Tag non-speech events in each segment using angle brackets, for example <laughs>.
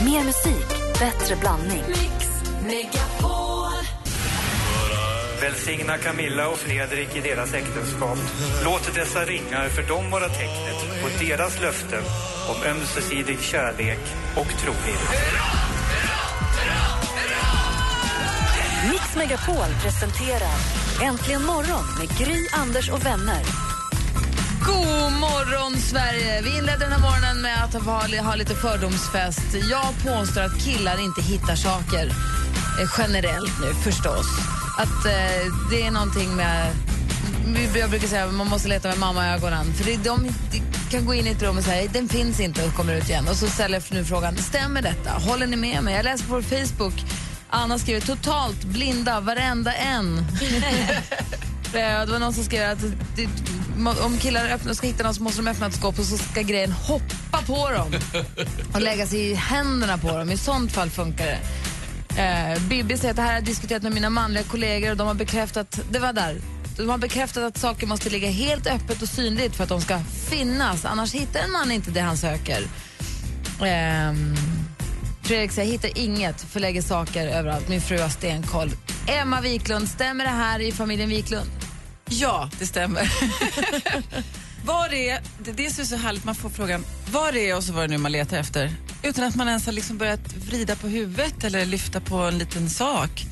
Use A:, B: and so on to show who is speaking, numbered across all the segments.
A: Mer musik, bättre blandning.
B: Eh,
C: Välsigna Camilla och Fredrik i deras äktenskap. Låt dessa ringar för dem vara tecknet på deras löften om ömsesidig kärlek och trohet.
A: Mix Megapol presenterar Äntligen morgon med Gry, Anders och vänner.
B: God morgon, Sverige! Vi inledde den här morgonen med att ha, ha lite fördomsfest. Jag påstår att killar inte hittar saker eh, generellt nu, förstås. Att eh, det är någonting med... Jag brukar säga att man måste leta med mamma i ögonen. För det, de, de kan gå in i ett rum och säga den finns inte och kommer ut igen. Och så ställer jag nu frågan, stämmer detta? Håller ni med mig? Jag läser på vår Facebook. Anna skriver totalt blinda, varenda en. Eh, Det var någon som skrev att det- må- om killar öppnar, ska hitta någon så måste de öppna ett skåp och så ska grejen hoppa på dem och lägga sig i händerna på dem. I sånt fall funkar det. Eh, Bibi säger att det här har jag diskuterat med mina manliga kollegor och de har bekräftat, det var där, de har bekräftat att saker måste ligga helt öppet och synligt för att de ska finnas. Annars hittar en man inte det han söker. Ehm, Fredrik säger, hittar inget, förlägger saker överallt. Min fru har stenkoll. Emma Wiklund, stämmer det här i familjen Wiklund?
D: Ja, det stämmer. <laughs> var är, det, det är så- så härligt, man får frågan var är jag och så var det nu man letar efter. Utan att man ens har liksom börjat vrida på huvudet eller lyfta på en liten sak.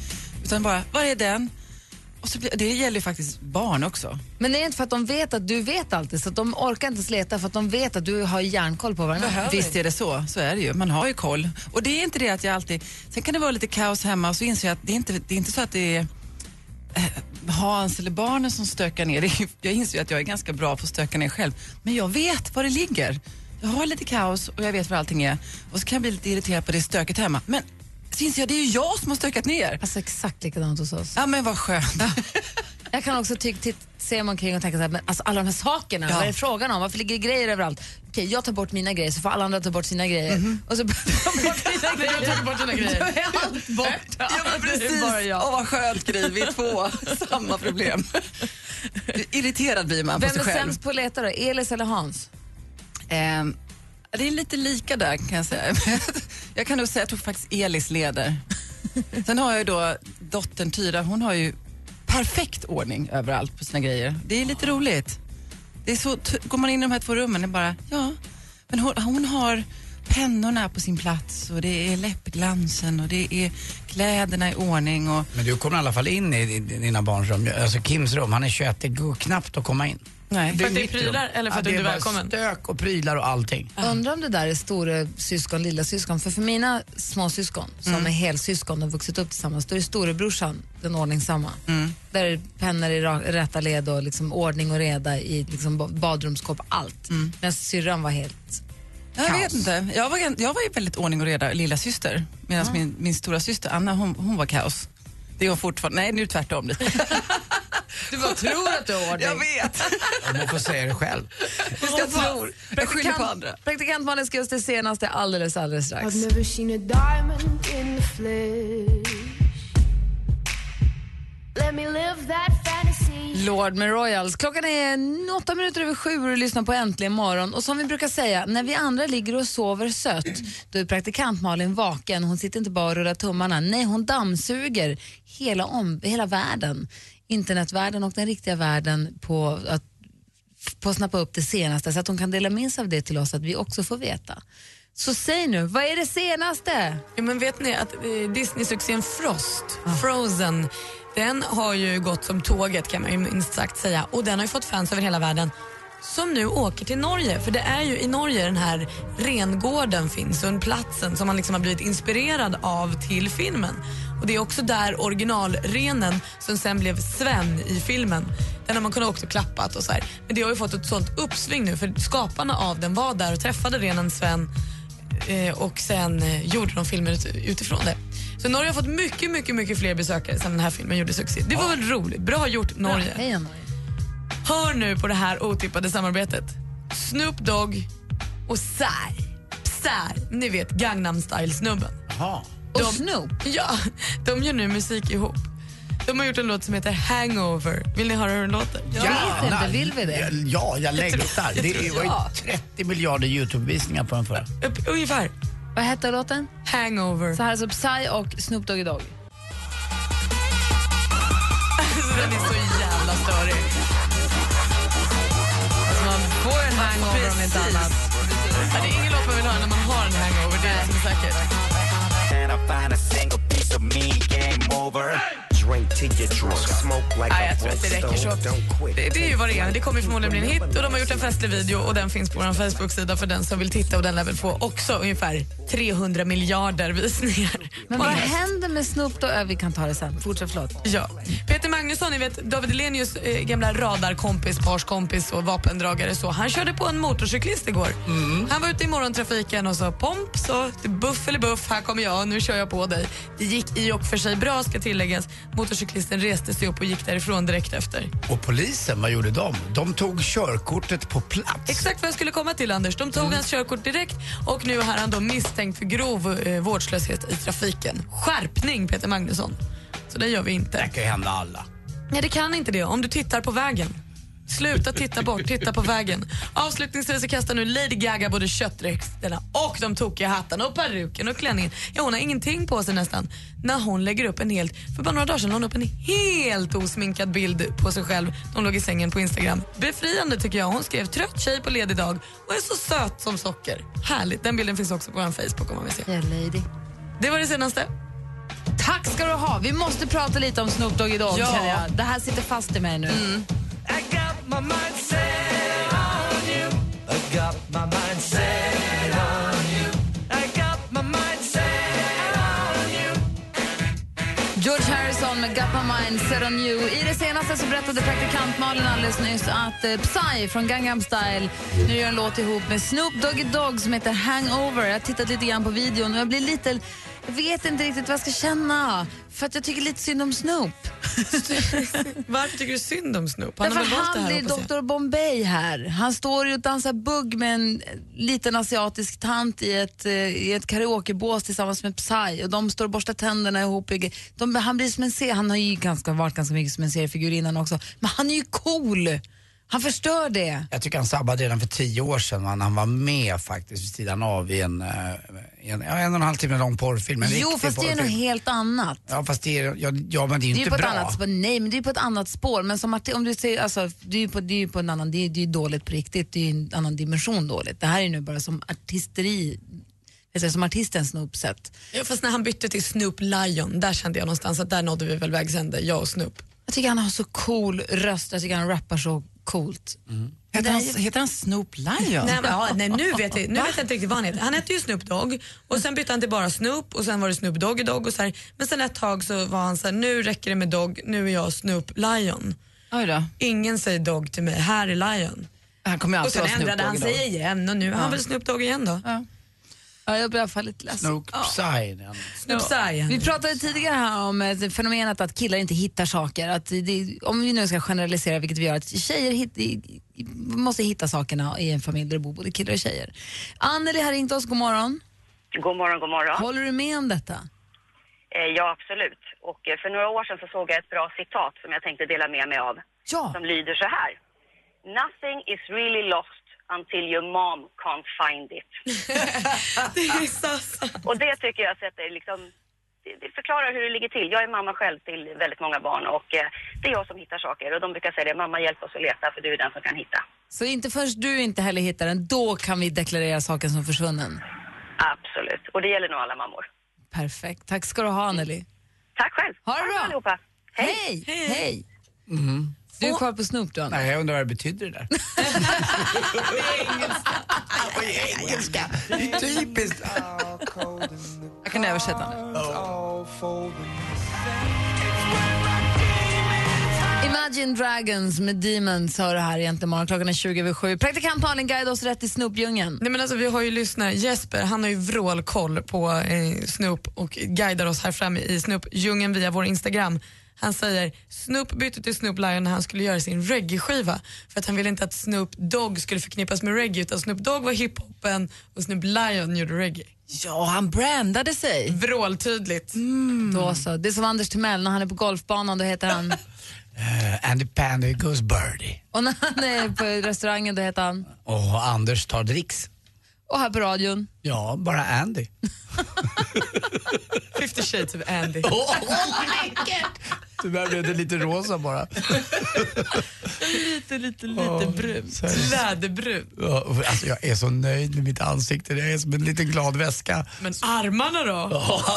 D: Utan bara, var är den? Och så, blir- det gäller ju faktiskt barn också.
B: Men det är inte för att de vet att du vet alltid, så att de orkar inte ens leta för att de vet att du har järnkoll på varandra.
D: Visst är det så, så är det ju. Man har ju koll. Och det är inte det att jag alltid... Sen kan det vara lite kaos hemma och så inser jag att det är inte, det är inte så att det är eh, Hans eller barnen som stökar ner. <laughs> Det är- Jag inser ju att jag är ganska bra på att stöka ner själv. Men jag vet var det ligger. Jag har lite kaos och jag vet var allting är. Och så kan jag bli lite irriterad på det stöket hemma. Men så inser jag att det är ju jag som har stökat ner.
B: Alltså exakt likadant hos oss.
D: <laughs> Ja men vad skönt.
B: Jag kan också ty- titt- se mig omkring och tänka så här, men alltså alla de här sakerna,
D: Ja.
B: vad är det frågan om? Varför ligger det grejer överallt? Okej, jag tar bort mina grejer så får alla andra ta bort sina grejer. Och <laughs> så tar de bort mina grejer. Mhm. Jag tar bort sina grejer. Då är allt borta.
D: Ja, men
B: Det är
D: precis.
B: bara jag.
D: Åh, vad skönt Gry, vi är två. <laughs> Samma problem. Irriterad blir man på
B: Vem
D: sig
B: är
D: själv.
B: sämst på att leta då? Elis eller Hans?
D: Ehm, det är lite lika där kan jag säga. <laughs> jag kan nog säga, jag tror faktiskt Elis leder. Sen har jag ju då dottern Tyra, hon har ju perfekt ordning överallt på sina grejer. Det är lite roligt. Det är så, t- går man in i de här två rummen, det är bara, ja. Men hon, hon har pennorna på sin plats och det är läppglansen och det är kläderna i ordning och
E: Men du kommer i alla fall in i di- dina barns rum. Alltså Kims rum, han är 21, det går knappt att komma in.
D: Nej.
F: För att det är
E: mitt
F: prylar,
E: rum.
F: eller för att
E: ja, det
F: du inte är
E: är bara
F: välkommen?
E: stök och prylar och allting.
B: Undrar om det där är store syskon, lilla syskon. För för mina småsyskon som är helsyskon och vuxit upp tillsammans, då är storebrorsan den ordningsamma. Där är pennor i ra- rätta led och liksom ordning och reda i liksom ba- badrumsskåp, allt. Medan syrran var helt...
D: Jag
B: Kaos.
D: vet inte. Jag var, gan- jag var ju väldigt ordning och reda lilla syster. Medan min, min stora syster Anna, hon, hon var kaos. Det är hon fortfarande. Nej,
B: <laughs>
D: nu tvärtom lite.
B: Du bara tror att du har ordning.
D: Jag
B: <laughs>
D: vet.
E: Om hon får säga det själv.
D: Jag tror. Jag skyller på andra.
B: Praktikant Malin ska ge oss det senaste alldeles, alldeles strax.
G: I've never seen a diamond in the flesh. Let me live that fantasy.
B: Lord med Royals. Klockan är åtta minuter över sju och du lyssnar på Äntligen morgon. Och som vi brukar säga, när vi andra ligger och sover sött, då är praktikant Malin vaken. Hon sitter inte bara och rullar tummarna. Nej, hon dammsuger hela, om, hela världen. Internetvärlden och den riktiga världen på att, på att snappa upp det senaste så att hon kan dela med sig av det till oss så att vi också får veta. Så säg nu, vad är det senaste?
F: Ja, men vet ni att eh, Disney-succén Frost, Frozen, den har ju gått som tåget kan man ju minst sagt säga och den har ju fått fans över hela världen som nu åker till Norge. För det är ju i Norge den här rengården finns, platsen som man liksom har blivit inspirerad av till filmen. Och Det är också där originalrenen som sen blev Sven i filmen. Den har man kunnat också klappat och så här. Men det har ju fått ett sånt uppsving nu för skaparna av den var där och träffade renen Sven Eh, och sen eh, gjorde de filmer ut- utifrån det. Så Norge har fått mycket, mycket, mycket fler besökare sen den här filmen gjorde succé. Det var väl roligt? Bra gjort Norge.
B: Hej, Anna.
F: Hör nu på det här otippade samarbetet. Snoop Dogg och Psy. Psy, ni vet Gangnam Style-snubben.
E: Jaha.
B: Och
F: De-
B: Snoop.
F: Ja, de gör nu musik ihop. De har gjort en låt som heter Hangover. Vill ni höra hur den låter?
B: Vet inte, vill vi det?
E: Ja, jag längtar.
F: jag
E: Det
F: tror-
E: var ju
F: ja.
E: 30 miljarder Youtube-visningar på den förra.
F: Upp, ungefär.
B: Vad hette låten?
F: Hangover.
B: Så här är alltså Psy och Snoop Doggy Dogg.
F: Den är så jävla störig.
B: Alltså man får en hangover om inte
F: Precis.
B: annat.
F: Det är ingen låt man vill höra när man har en hangover, det är det som är säkert.
H: And I find a single piece of me, game over. Drink till you drunk, smoke like
F: Nej,
H: a
F: jag tror att det räcker så. Det, det är ju vad det är. Det kommer förmodligen bli en hit och de har gjort en festlig video och den finns på vår Facebook-sida för den som vill titta och den lär väl få också ungefär 300 miljarder visningar. alltså.
B: Men vad
F: Bara-
B: händer med Snoop Dogg? Eh, Vi kan ta det sen. Fortsätt, förlåt.
F: Ja. Peter Magnusson, ni vet David Hellenius eh, gamla radarkompis, parskompis och vapendragare så. Han körde på en motorcyklist igår. Han var ute i morgontrafiken och sa pomp så buff eller buff, här kommer jag, nu kör jag på dig. Det gick i och för sig bra ska tilläggas. Motorcyklisten reste sig upp och gick därifrån direkt efter.
E: Och polisen, vad gjorde de? De tog körkortet på plats.
F: Exakt vad jag skulle komma till Anders. De tog hans körkort direkt och nu är han då misstänkt för grov eh, vårdslöshet i trafiken. Skärpning Peter Magnusson. Så det gör vi inte.
E: Det kan ju hända alla.
F: Nej, det kan inte det om du tittar på vägen. Sluta titta bort, titta på vägen. Avslutningsvis så kastar nu Lady Gaga både köttdräkterna och de tokiga hattarna och peruken och klänningen. Ja, hon har ingenting på sig nästan. När hon lägger upp en helt, för bara några dagar sedan la hon upp en helt osminkad bild på sig själv när hon låg i sängen på Instagram. Befriande tycker jag. Hon skrev trött tjej på ledig dag och är så söt som socker. Härligt. Den bilden finns också på vår Facebook om man vill se.
B: Yeah, lady.
F: Det var det senaste.
B: Tack ska du ha. Vi måste prata lite om Snoop Doggy Dogg.
F: Ja.
B: känner jag. Det här sitter fast i mig nu.
H: I got my mind set on you. I got my mind set on you. I got my mind set on you.
B: George Harrison med Got My Mind Set On You. I det senaste så berättade praktikant Malin alldeles nyss att eh, Psy från Gangnam Style nu gör en låt ihop med Snoop Doggy Dogg som heter Hangover. Jag har tittat lite grann på videon och jag blir lite... Jag vet inte riktigt vad jag ska känna för att jag tycker lite synd om Snoop.
F: Varför tycker du synd om Snoop? Han har
B: Därför
F: väl valt det
B: han
F: här
B: blir
F: hoppas jag.
B: Dr Bombay här. Han står ju och dansar bugg med en liten asiatisk tant i ett, eh, i ett karaokebås tillsammans med Psy och de står och borstar tänderna ihop. i- De, han blir som en se, han har ju ganska, varit ganska mycket som en seriefigur innan också, men han är ju cool. Han förstör det.
E: Jag tycker han sabbade redan för tio år sedan va, när han var med faktiskt vid sidan av i en, eh, i en, ja, en och en halv timme lång porrfilm. En
B: Jo,
E: riktig
B: fast det är
E: porrfilm.
B: något helt annat.
E: Ja fast det är, ja, ja men det är ju
B: Det är ju
E: inte
B: på
E: bra.
B: ett annat spår. Nej, men det är på ett annat spår. Men som att, om du säger, alltså, det är ju på, det är ju på en annan, det är, det är ju dåligt på riktigt. Det är ju en annan dimension dåligt. Det här är nu bara som artisteri, alltså, som artisten Snoop sett.
F: Ja, fast när han bytte till Snoop Lion, där kände jag någonstans att där nådde vi väl vägs ände, jag och Snoop.
B: Jag tycker han har så cool röst, jag tycker han rappar så coolt.
D: Heter han, heter han Snoop Lion?
F: Nej, men, ja, nej, nu vet, jag, nu vet jag inte riktigt vad han heter. Han hette ju Snoop Dogg och sen bytte han till bara Snoop och sen var det Snoop Doggy Dogg och så här. Men sen ett tag så var han så här, nu räcker det med Dogg, nu är jag Snoop Lion.
D: Oj då.
F: Ingen säger Dogg till mig, här är Lion.
D: Han kommer ju
F: Och
D: alltid
F: sen
D: vara Snoop
F: ändrade han
D: Dogg
F: sig
D: idag.
F: igen och nu är han väl Snoop Dogg igen då.
B: Ja, jag blir i alla fall lite ledsen.
E: Snoop Sign.
F: Snoop Zion. <laughs>
B: Vi pratade tidigare här om eh, fenomenet att killar inte hittar saker. Att det, om vi nu ska generalisera, vilket vi gör, att tjejer hit, i- i- måste hitta sakerna i en familj där det bor både killar och tjejer. Anneli har ringt oss, god morgon.
I: God morgon, god morgon.
B: Håller du med om detta?
I: Eh, Ja, absolut. Och eh, för några år sedan så såg jag ett bra citat som jag tänkte dela med mig av.
B: Ja.
I: Som lyder så här. Nothing is really lost until your mom can't find it.
F: Det är Sasa.
I: Och det tycker jag sätter liksom... det- Det förklarar hur det ligger till. Jag är mamma själv till väldigt många barn och eh, det är jag som hittar saker. Och de brukar säga det, mamma hjälp oss att leta för du är den som kan hitta.
B: Så inte förrän du inte heller hittar den, då kan vi deklarera saken som försvunnen.
I: Absolut. Och det gäller nog alla mammor.
B: Perfekt. Tack ska du ha, Anneli.
I: Tack själv.
B: Ha det bra.
I: Tack allihopa. Hej.
B: Hej! Hej!
E: Mm-hmm.
B: Du är kvar på Snoop, du, Anneli.
E: Nej, jag undrar vad det
B: <laughs>
E: betyder det där. <laughs> På engelska. Det är Typiskt.
D: Jag kan översätta nu.
B: Imagine Dragons med Demons hör det här egentligen morgon. Klockan är 20 över sju. Praktikant Malin guidar oss rätt i Snoopdjungeln.
F: Nej, men alltså, vi har ju lyssnare, Jesper, han har ju vrålkoll på eh, Snoop och guidar oss här fram i Snoop-djungeln via vår Instagram. Han säger Snoop bytte till Snoop Lion när han skulle göra sin reggae-skiva för att han ville inte att Snoop Dogg skulle förknippas med reggae utan Snoop Dogg var hiphopen och Snoop Lion gjorde reggae.
D: Ja, han brandade sig.
F: Vråltydligt.
B: Då så. Det är som Anders Timell när han är på golfbanan, då heter han...
E: Eh, Andy Pandy goes birdie.
B: Och när han är på restaurangen, då heter han...
E: Och Anders tar dricks.
B: Och här på radion.
E: Ja, bara Andy.
F: Fifty shades of Andy.
E: Tyvärr blev det lite rosa bara.
B: Lite, lite, lite brunt.
F: Läderbrun.
E: Ja, Alltså, jag är så nöjd med mitt ansikte. Det är som en liten glad väska.
F: Men armarna då?
E: Ja,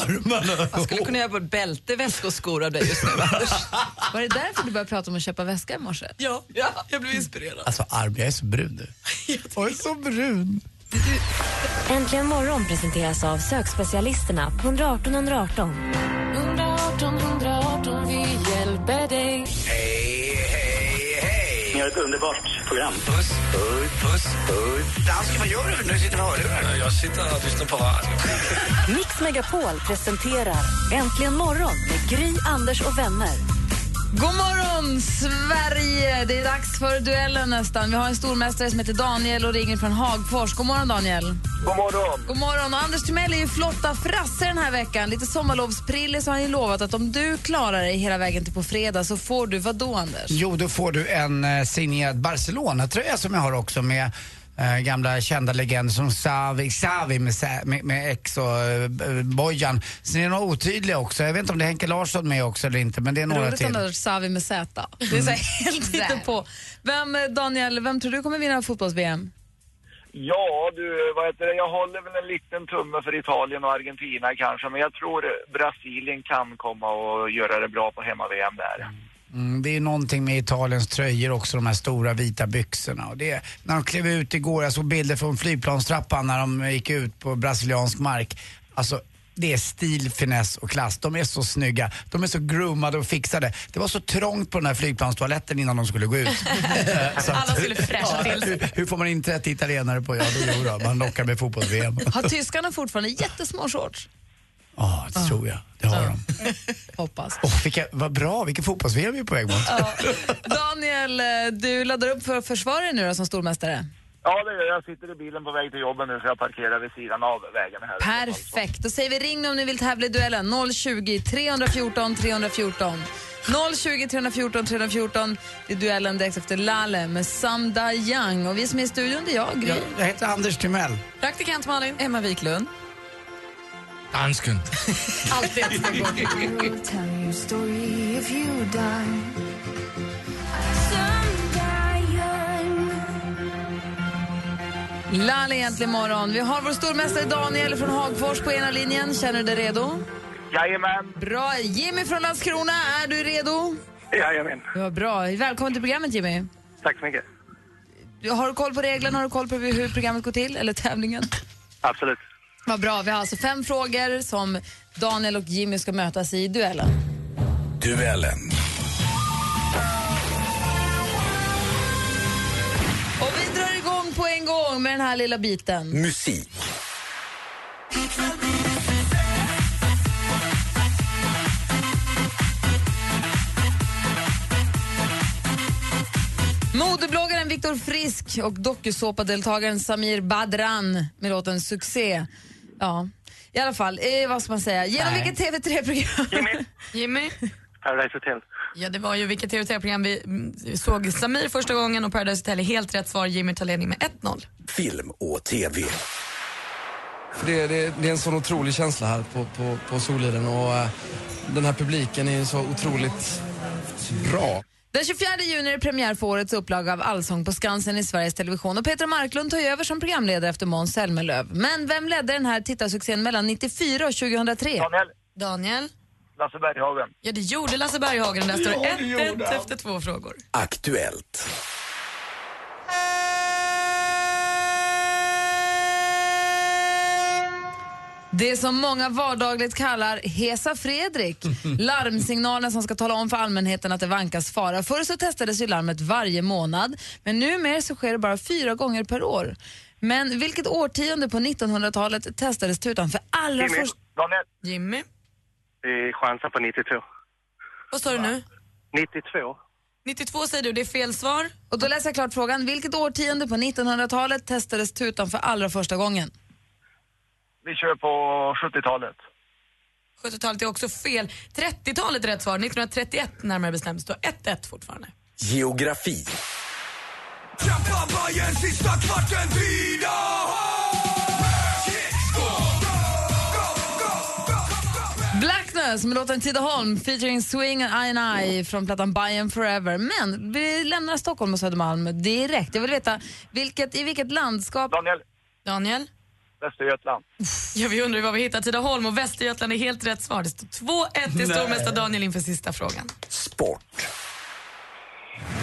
D: Jag
E: armarna.
D: skulle kunna göra både bälte, väska och skor av dig just nu, Anders.
B: Var det därför du började prata om att köpa väska i morse?
F: Ja, ja. jag blev inspirerad.
E: Alltså arm, jag är så brun
B: <laughs>
E: nu. Jag är så brun.
J: Äntligen morgon presenteras av sökspecialisterna på 118 118.
H: Hej, hej, hej!
C: Ni har ett underbart program.
H: Puss, puss, puss, puss. Dansken, vad gör du? Nu sitter du och hörlurar. Jag sitter och lyssnar på radio.
A: Mix Megapol presenterar Äntligen morgon med Gry, Anders och vänner.
B: God morgon, Sverige! Det är dags för duellen nästan. Vi har en stormästare som heter Daniel och ringer från Hagfors. God morgon, Daniel.
C: God morgon.
B: God morgon. Och Anders Timell är ju flotta frasse den här veckan. Lite sommarlovsprille så har han ju lovat att om du klarar dig hela vägen till på fredag så får du vad då, Anders?
E: Jo, då får du en eh, signerad Barcelona-tröja som jag har också med eh, gamla kända legender som Xavi, Xavi med, Sa- med, med X och eh, B- Bojan. Sen är det några otydliga också. Jag vet inte om det är Henke Larsson med också eller inte, men det är några
B: Roligt om
E: till.
B: du har Savi med Z. Det är så här helt inte på. Vem, eh, Daniel, vem tror du kommer vinna fotbolls-VM?
C: Ja, du, vad heter det? jag håller väl en liten tumme för Italien och Argentina kanske, men jag tror Brasilien kan komma och göra det bra på hemma-VM där.
E: Mm, det är någonting med Italiens tröjor också, de här stora vita byxorna. Och det, när de klev ut igår, jag såg bilder från flygplanstrappan när de gick ut på brasiliansk mark. Alltså, det är stil, finess och klass. De är så snygga. De är så groomade och fixade. Det var så trångt på den här flygplanstoaletten innan de skulle gå
F: <laughs>
E: ut. Eh, Så att-
F: Alla skulle fräscha till sig.
E: hur, hur får man in 30 italienare på? Ja, då, jo då, man lockar med
F: <laughs>
E: fotbolls-VM.
B: Har tyskarna fortfarande jättesmå shorts?
E: Ja, det tror jag. Det har de.
B: Hoppas.
E: Åh, vilka, vad bra, vilken fotbolls-VM vi är på väg mot.
B: Ja. Daniel, eh, du laddar upp för att försvara dig nu då, som stormästare.
C: Ja, det gör jag. Jag sitter i bilen på väg till jobbet nu, så jag parkerar vid sidan av vägen här.
B: Perfekt. Då säger vi ring nu om ni vill tävla i duellen. 020 314 314. 020 314 314. Det är duellen direkt efter Lale med Samda Yang. Och vi som är i studion, det är jag, Gry.
E: Jag, jag heter Anders Timell.
F: Praktikant Malin.
D: Emma Wiklund.
H: Dansken.
F: Alltid ett steg bort.
B: Lale egentligen imorgon. Vi har vår stormästare Daniel från Hagfors på ena linjen. Känner du dig redo?
C: Jajamän,
B: Bra. Jimmy från Landskrona, är du redo?
C: jajamän.
B: Ja, bra. Välkommen till programmet, Jimmy.
C: Tack så mycket.
B: Har du koll på reglerna? Har du koll på hur programmet går till? Eller tävlingen?
C: Absolut.
B: Vad bra. Vi har alltså fem frågor som Daniel och Jimmy ska mötas i duellen.
H: Duellen.
B: Och vi drar igång på en gång med den här lilla biten.
H: Musik.
B: Modebloggaren Viktor Frisk och dokusåpadeltagaren Samir Badran med låten Succé. Ja, i alla fall. Eh, vad ska man säga? Genom vilket TV3-program?
F: Jimmy.
C: Paradise Hotel.
F: Ja, det var ju vilket TV3-program vi mm, såg Samir första gången och Paradise Hotel är helt rätt svar. Jimmy tar ledning med 1-0.
H: Film och TV.
K: Det, det, det är en sån otrolig känsla här på, på, på Soliden och eh, den här publiken är ju så otroligt bra.
B: Den 24 juni är det premiär för årets upplaga av Allsång på Skansen i Sveriges Television och Peter Marklund tar ju över som programledare efter Måns Zelmerlöw. Men vem ledde den här tittarsuccén mellan 94 och 2003?
C: Daniel,
F: Daniel.
C: Lasse Berghagen.
F: Ja, det gjorde Lasse Berghagen. Där står
K: Ja, det gjorde
F: 1-1
K: han.
F: efter två frågor.
H: Aktuellt.
B: Det som många vardagligt kallar Hesa
F: <laughs>
B: Fredrik. Larmsignalen som ska tala om för allmänheten att det vankas fara. Förr så testades ju larmet varje månad, men numera så sker det bara fyra gånger per år. Men vilket årtionde på 1900-talet testades tutan för allra
C: Jimmy,
B: första...
C: Daniel.
F: Jimmy.
C: Vi chansar på 92.
F: Vad sa du nu?
C: 92.
F: 92 säger du, det är fel svar.
B: Och då läser jag klart frågan. Vilket årtionde på 1900-talet testades tutan för allra första gången?
C: Vi kör på 70-talet.
F: 70-talet är också fel. 30-talet är rätt svar. 1931 närmare bestämt. Står 1-1 fortfarande.
H: Geografi.
B: Blackness med låten Tidaholm featuring Swing and I and I från plattan By and Forever. Men vi lämnar Stockholm och Södermalm direkt. Jag vill veta vilket, i vilket landskap...
L: Daniel.
F: Daniel?
L: Västergötland.
F: Ja, vi undrar ju var vi hittar Tidaholm och Västergötland är helt rätt svar. Det står 2-1 till
L: Nej.
F: stormästare Daniel inför sista frågan.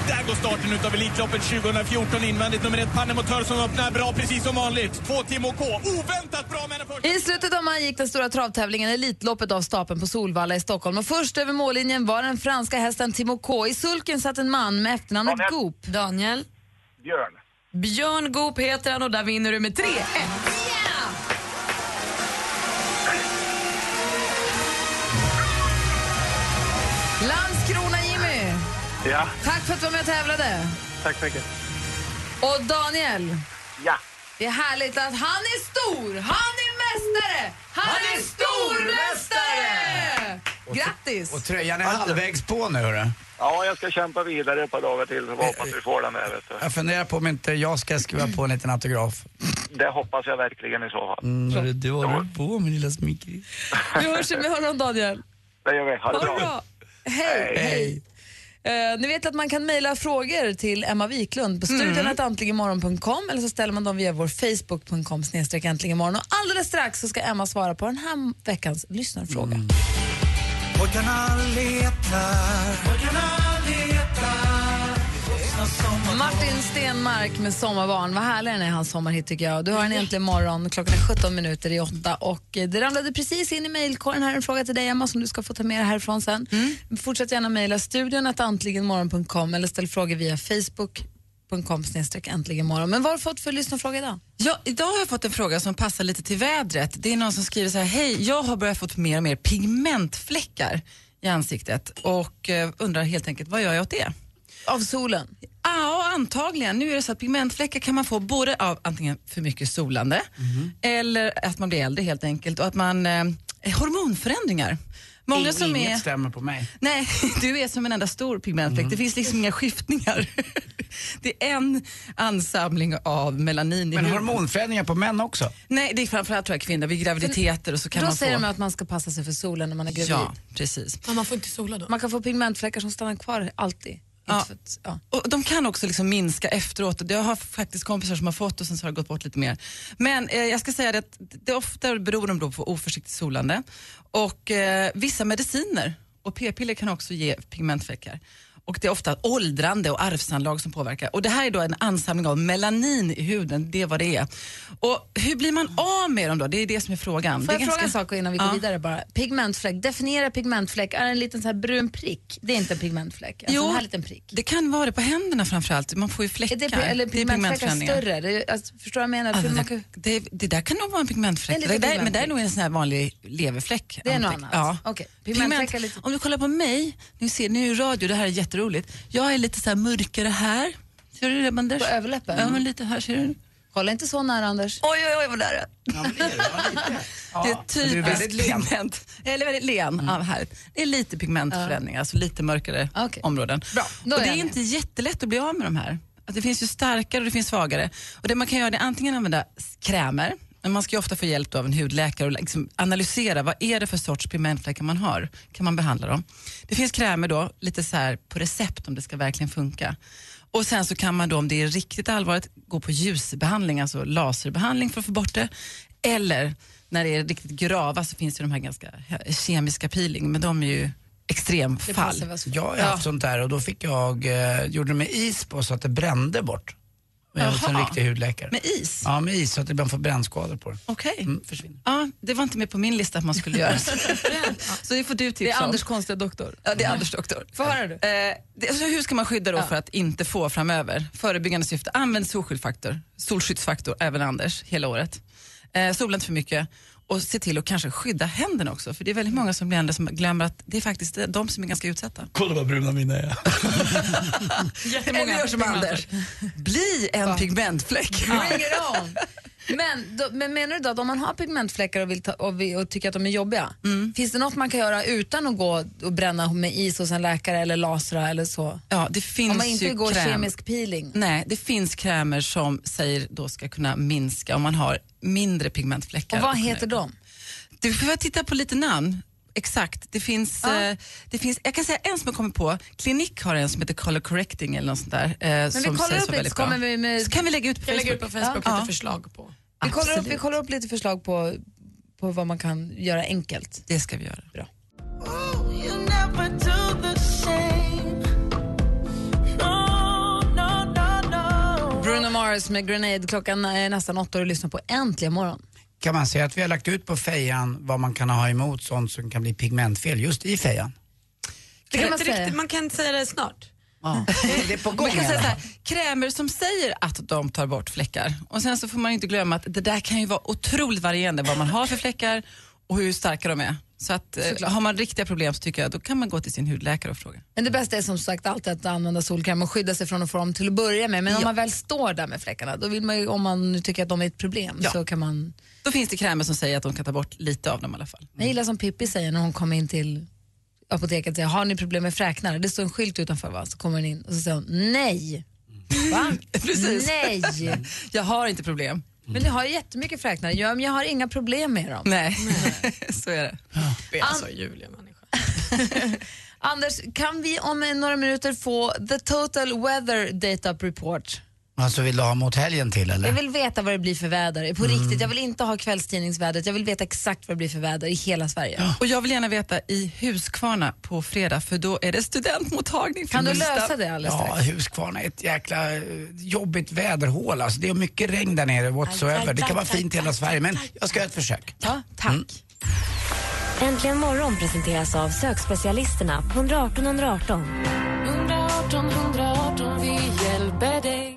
M: Där går starten utav Elitloppet 2014 invändigt. Nummer ett Pannemotör som öppnar bra precis som vanligt. Två Timo K. Oväntat bra men en första...
B: <laughs> I slutet av maj gick den stora travtävlingen Elitloppet av stapeln på Solvalla i Stockholm. Och först över mållinjen var den franska hästen Timo K. I sulken satt en man med efternamnet Goop.
F: Daniel?
L: Björn.
F: Björn Goop heter han och där vinner du med 3-1.
B: Landskrona-Jimmy,
L: Ja,
B: tack för att du var med och tävlade.
L: tack så mycket.
B: Och Daniel,
L: Ja.
B: det är härligt att han är stor, han är mästare, han,
H: Han
B: är
H: är
B: stormästare! Grattis!
E: Och tröjan är halvvägs på nu hörru.
L: Ja, jag ska kämpa vidare ett par dagar till och hoppas vi får den där. Vet du.
E: Jag funderar på om inte jag ska skriva på en liten autograf.
L: Det hoppas jag verkligen i så fall.
E: Mm, det var du på min lilla smickris.
B: Vi hörs om imorgon Daniel.
L: Det gör vi. Ha det
B: Ha
L: bra.
B: det bra. Hej, hej. Eh, ni vet att man kan mejla frågor till Emma Wiklund på
L: Mm.
B: studionatantligenmorgon.com eller så ställer man dem via vår facebook.com snedstreck äntligenmorgon. Och alldeles strax så ska Emma svara på den här veckans lyssnarfråga.
H: Pojkarna letar. Pojkarna letar. Vuxna som har
B: Martin Stenmark med Sommarbarn. Vad härlig den är, hans sommarhit tycker jag. Du har den äntligen morgon. Klockan är 17 minuter i åtta och eh, det ramlade precis in i mejlkorgen här en fråga till dig Emma som du ska få ta med dig härifrån sen.
D: Mm.
B: Fortsätt gärna mejla studion att antligenmorgon.com eller ställ frågor via facebook.com snedstreck äntligenmorgon. Men vad har du fått för lyssnarfråga idag?
D: Ja, idag har jag fått en fråga som passar lite till vädret. Det är någon som skriver så här, hej, jag har börjat få mer och mer pigmentfläckar i ansiktet och eh, undrar helt enkelt, vad gör jag åt det?
B: Av solen?
D: Ja, antagligen. Nu är det så att pigmentfläckar kan man få både av antingen för mycket solande eller att man blir äldre helt enkelt och att man, eh, hormonförändringar. Många som
E: Inget
D: är...
E: stämmer på mig.
D: Nej, <laughs> du är som en enda stor pigmentfläck. Det finns liksom inga skiftningar. <laughs> Det är en ansamling av melanin i
E: Men
D: huden.
E: hormonförändringar på
D: <laughs>
E: män också?
D: Nej, det är framförallt tror jag kvinnor vid graviditeter och så kan
B: då
D: man
B: säger
D: få...
B: de att man ska passa sig för solen när man är gravid.
D: ja, precis.
F: man får inte sola då?
B: Man kan få pigmentfläckar som stannar kvar alltid.
D: Ja.
B: Inte för att, ja.
D: Och de kan också liksom minska efteråt. Jag har faktiskt kompisar som har fått och sen så har det gått bort lite mer. Men eh, jag ska säga det att det ofta beror de då på oförsiktigt solande och eh, vissa mediciner och p-piller kan också ge pigmentfläckar. Och det är ofta åldrande och arvsanlag som påverkar. Och det här är då en ansamling av melanin i huden, det är vad det är. Och hur blir man av med dem då? Det är det som är frågan.
B: Får
D: det är
B: jag fråga en sak innan vi går
D: Ja.
B: vidare bara? Pigmentfläck, definiera pigmentfläck. Är det en liten så här brun prick? Det är inte en pigmentfläck. Alltså
D: Jo.
B: en här liten prick.
D: Det kan vara det på händerna framförallt. Man får ju
B: Är
D: fläckar.
B: det, eller
D: Det är
B: pigmentfläckar
D: pigmentförändringar.
B: större? Det, är- alltså, förstår du vad jag menar?
D: Ja,
B: För
D: men
B: man
D: det,
B: kan,
D: det, det där kan nog vara en pigmentfläck.
B: Det är
D: Det
B: lite
D: där, men det
B: pigmentfläck.
D: är nog en sån här vanlig leverfläck.
B: Det är något
D: antar jag.
B: annat.
D: Ja.
B: Okej, pigmentfläckar
D: Pigment. Om du kollar på mig, nu ser ni ju radio, det här är jätteroligt. Jag är lite så här mörkare här. Ser du det Anders? På
B: överläppen?
D: Ja, men lite här ser du.
B: kolla inte så nära Anders.
D: Oj, oj, oj vad nära. Det
B: men
D: är
B: du är
D: typiskt
B: väldigt len. Mm.
D: pigment. Eller väldigt len. Ja, vad härligt. Det är lite pigmentförändringar, alltså lite mörkare områden.
B: då
D: Och
B: är
D: det
B: jag
D: är
B: med.
D: inte jättelätt att bli av med de här. Att det finns ju starkare och det finns svagare. Och det man kan göra det är antingen använda s- krämer, men man ska ju ofta få hjälp av en hudläkare och liksom analysera vad är det för sorts pigmentfläckar man har. Kan man behandla dem? Det finns krämer då, lite så här på recept om det ska verkligen funka. Och sen så kan man då om det är riktigt allvarligt gå på ljusbehandling, alltså laserbehandling för att få bort det. Eller när det är riktigt grava så finns ju de här ganska he- kemiska peeling, men de är ju extremfall.
E: Alltså, Jag har haft sånt där och då fick jag, eh, gjorde det med is på så att det brände bort. Men jag var en
D: Jaha.
E: riktig hudläkare.
D: Med is?
E: Ja, med is så att det ibland får brännskador på det.
D: Okej.
B: Mm,
D: Ja, det var inte med på min lista att man skulle
B: <laughs>
D: göra så. så det får du tipsa
B: Det är
D: om.
B: Anders konstiga doktor.
D: Ja, det är Anders doktor.
B: Få höra du.
D: Eh, det, alltså, hur ska man skydda då för att inte få framöver? Förebyggande syfte, använd solskyddsfaktor, solskyddsfaktor även Anders, hela året. Eh, sola inte för mycket och se till att kanske skydda händerna också. För det är väldigt många som blir äldre som glömmer att det är faktiskt de som är ganska utsatta.
E: Kolla vad bruna mina är.
D: Jättemånga Eller gör som Anders. Bli en pigmentfläck.
B: Bring it on! Men, då, men menar du då att om man har pigmentfläckar och, vill ta, och, vi, och tycker att de är jobbiga,
D: Mm.
B: finns det något man kan göra utan att gå och bränna med is hos en läkare eller lasra eller så?
D: Ja, det finns
B: om man inte
D: ju
B: går
D: kräm.
B: kemisk peeling?
D: Nej, det finns krämer som säger då ska kunna minska om man har mindre pigmentfläckar.
B: Och vad heter de?
D: Du får jag titta på lite namn. exakt. Det finns, eh, det finns, jag kan säga en som jag kommer på, Klinik har en som heter Color Correcting eller något sånt där. eh,
B: Men vi
D: som
B: kollar
D: sägs
B: upp
D: vara
B: lite
D: väldigt
B: så
D: bra.
B: kommer vi med...
D: Så kan vi lägga ut på
B: Kan vi lägga ut
D: Facebook.
B: på Facebook
D: Ja.
B: lite
D: Ja.
F: förslag på.
B: Vi kollar, upp, vi
D: Absolut.
B: kollar upp lite förslag på, på vad man kan göra enkelt.
D: Det ska vi göra.
B: Bra. Bruno Mars med Grenade. Klockan är nästan åtta och du lyssnar på Äntligen morgon.
E: Kan man säga att vi har lagt ut på fejan vad man kan ha emot sånt som kan bli pigmentfel just
D: <laughs>
E: i fejan?
F: Det kan man, riktigt, man kan inte säga det snart.
E: Det är på gång
D: Man kan
E: i
D: säga
E: alla
D: så här,
E: fall.
D: krämer som säger att de tar bort fläckar. Och sen så får man inte glömma att det där kan ju vara otroligt varierande vad man har för fläckar och hur starka de är. Så att eh,
B: Såklart.
D: har man riktiga problem så tycker jag då kan man gå till sin hudläkare och fråga.
B: Men det bästa är som sagt alltid att använda solkräm och skydda sig från att få dem till att börja med. Men om
D: Ja.
B: man väl står där med fläckarna, då vill man ju, om man nu tycker att de är ett problem, så kan man...
D: Då finns det krämer som säger att de kan ta bort lite av dem i alla fall.
B: Jag gillar som Pippi säger när hon kommer in till apoteket och säger, har ni problem med fräknar? Det står en skylt utanför va? Så kommer hon in och så säger hon, nej. <laughs> Va?
D: Precis.
B: Nej.
D: jag har inte problem.
B: Men ni har ju jättemycket fräknar. Ja, men jag har inga problem med dem.
D: Nej, <laughs> så är det.
F: Det är alltså Julia. man.
B: Anders, kan vi om eh, några minuter få the total weather data report?
E: Alltså vill du ha mot helgen till eller?
B: Jag vill veta vad det blir för väder. På riktigt, jag vill inte ha kvällstidningsvädret. Jag vill veta exakt vad det blir för väder i hela Sverige.
D: Och jag vill gärna veta i Huskvarna på fredag för då är det studentmottagning. för
B: Kan du
D: Gustav.
B: lösa det alldeles
E: Ja,
B: strax?
E: Huskvarna är ett jäkla eh, jobbigt väderhål. Alltså, det är mycket regn där nere
J: Aj,
E: whatsoever.
J: aj,
E: Det kan vara
J: aj, aj,
E: fint i hela Sverige, men jag ska göra ett försök.
B: Ja, tack.
J: Äntligen morgon presenteras av sökspecialisterna på 118 118.
N: 118 118, vi hjälper dig.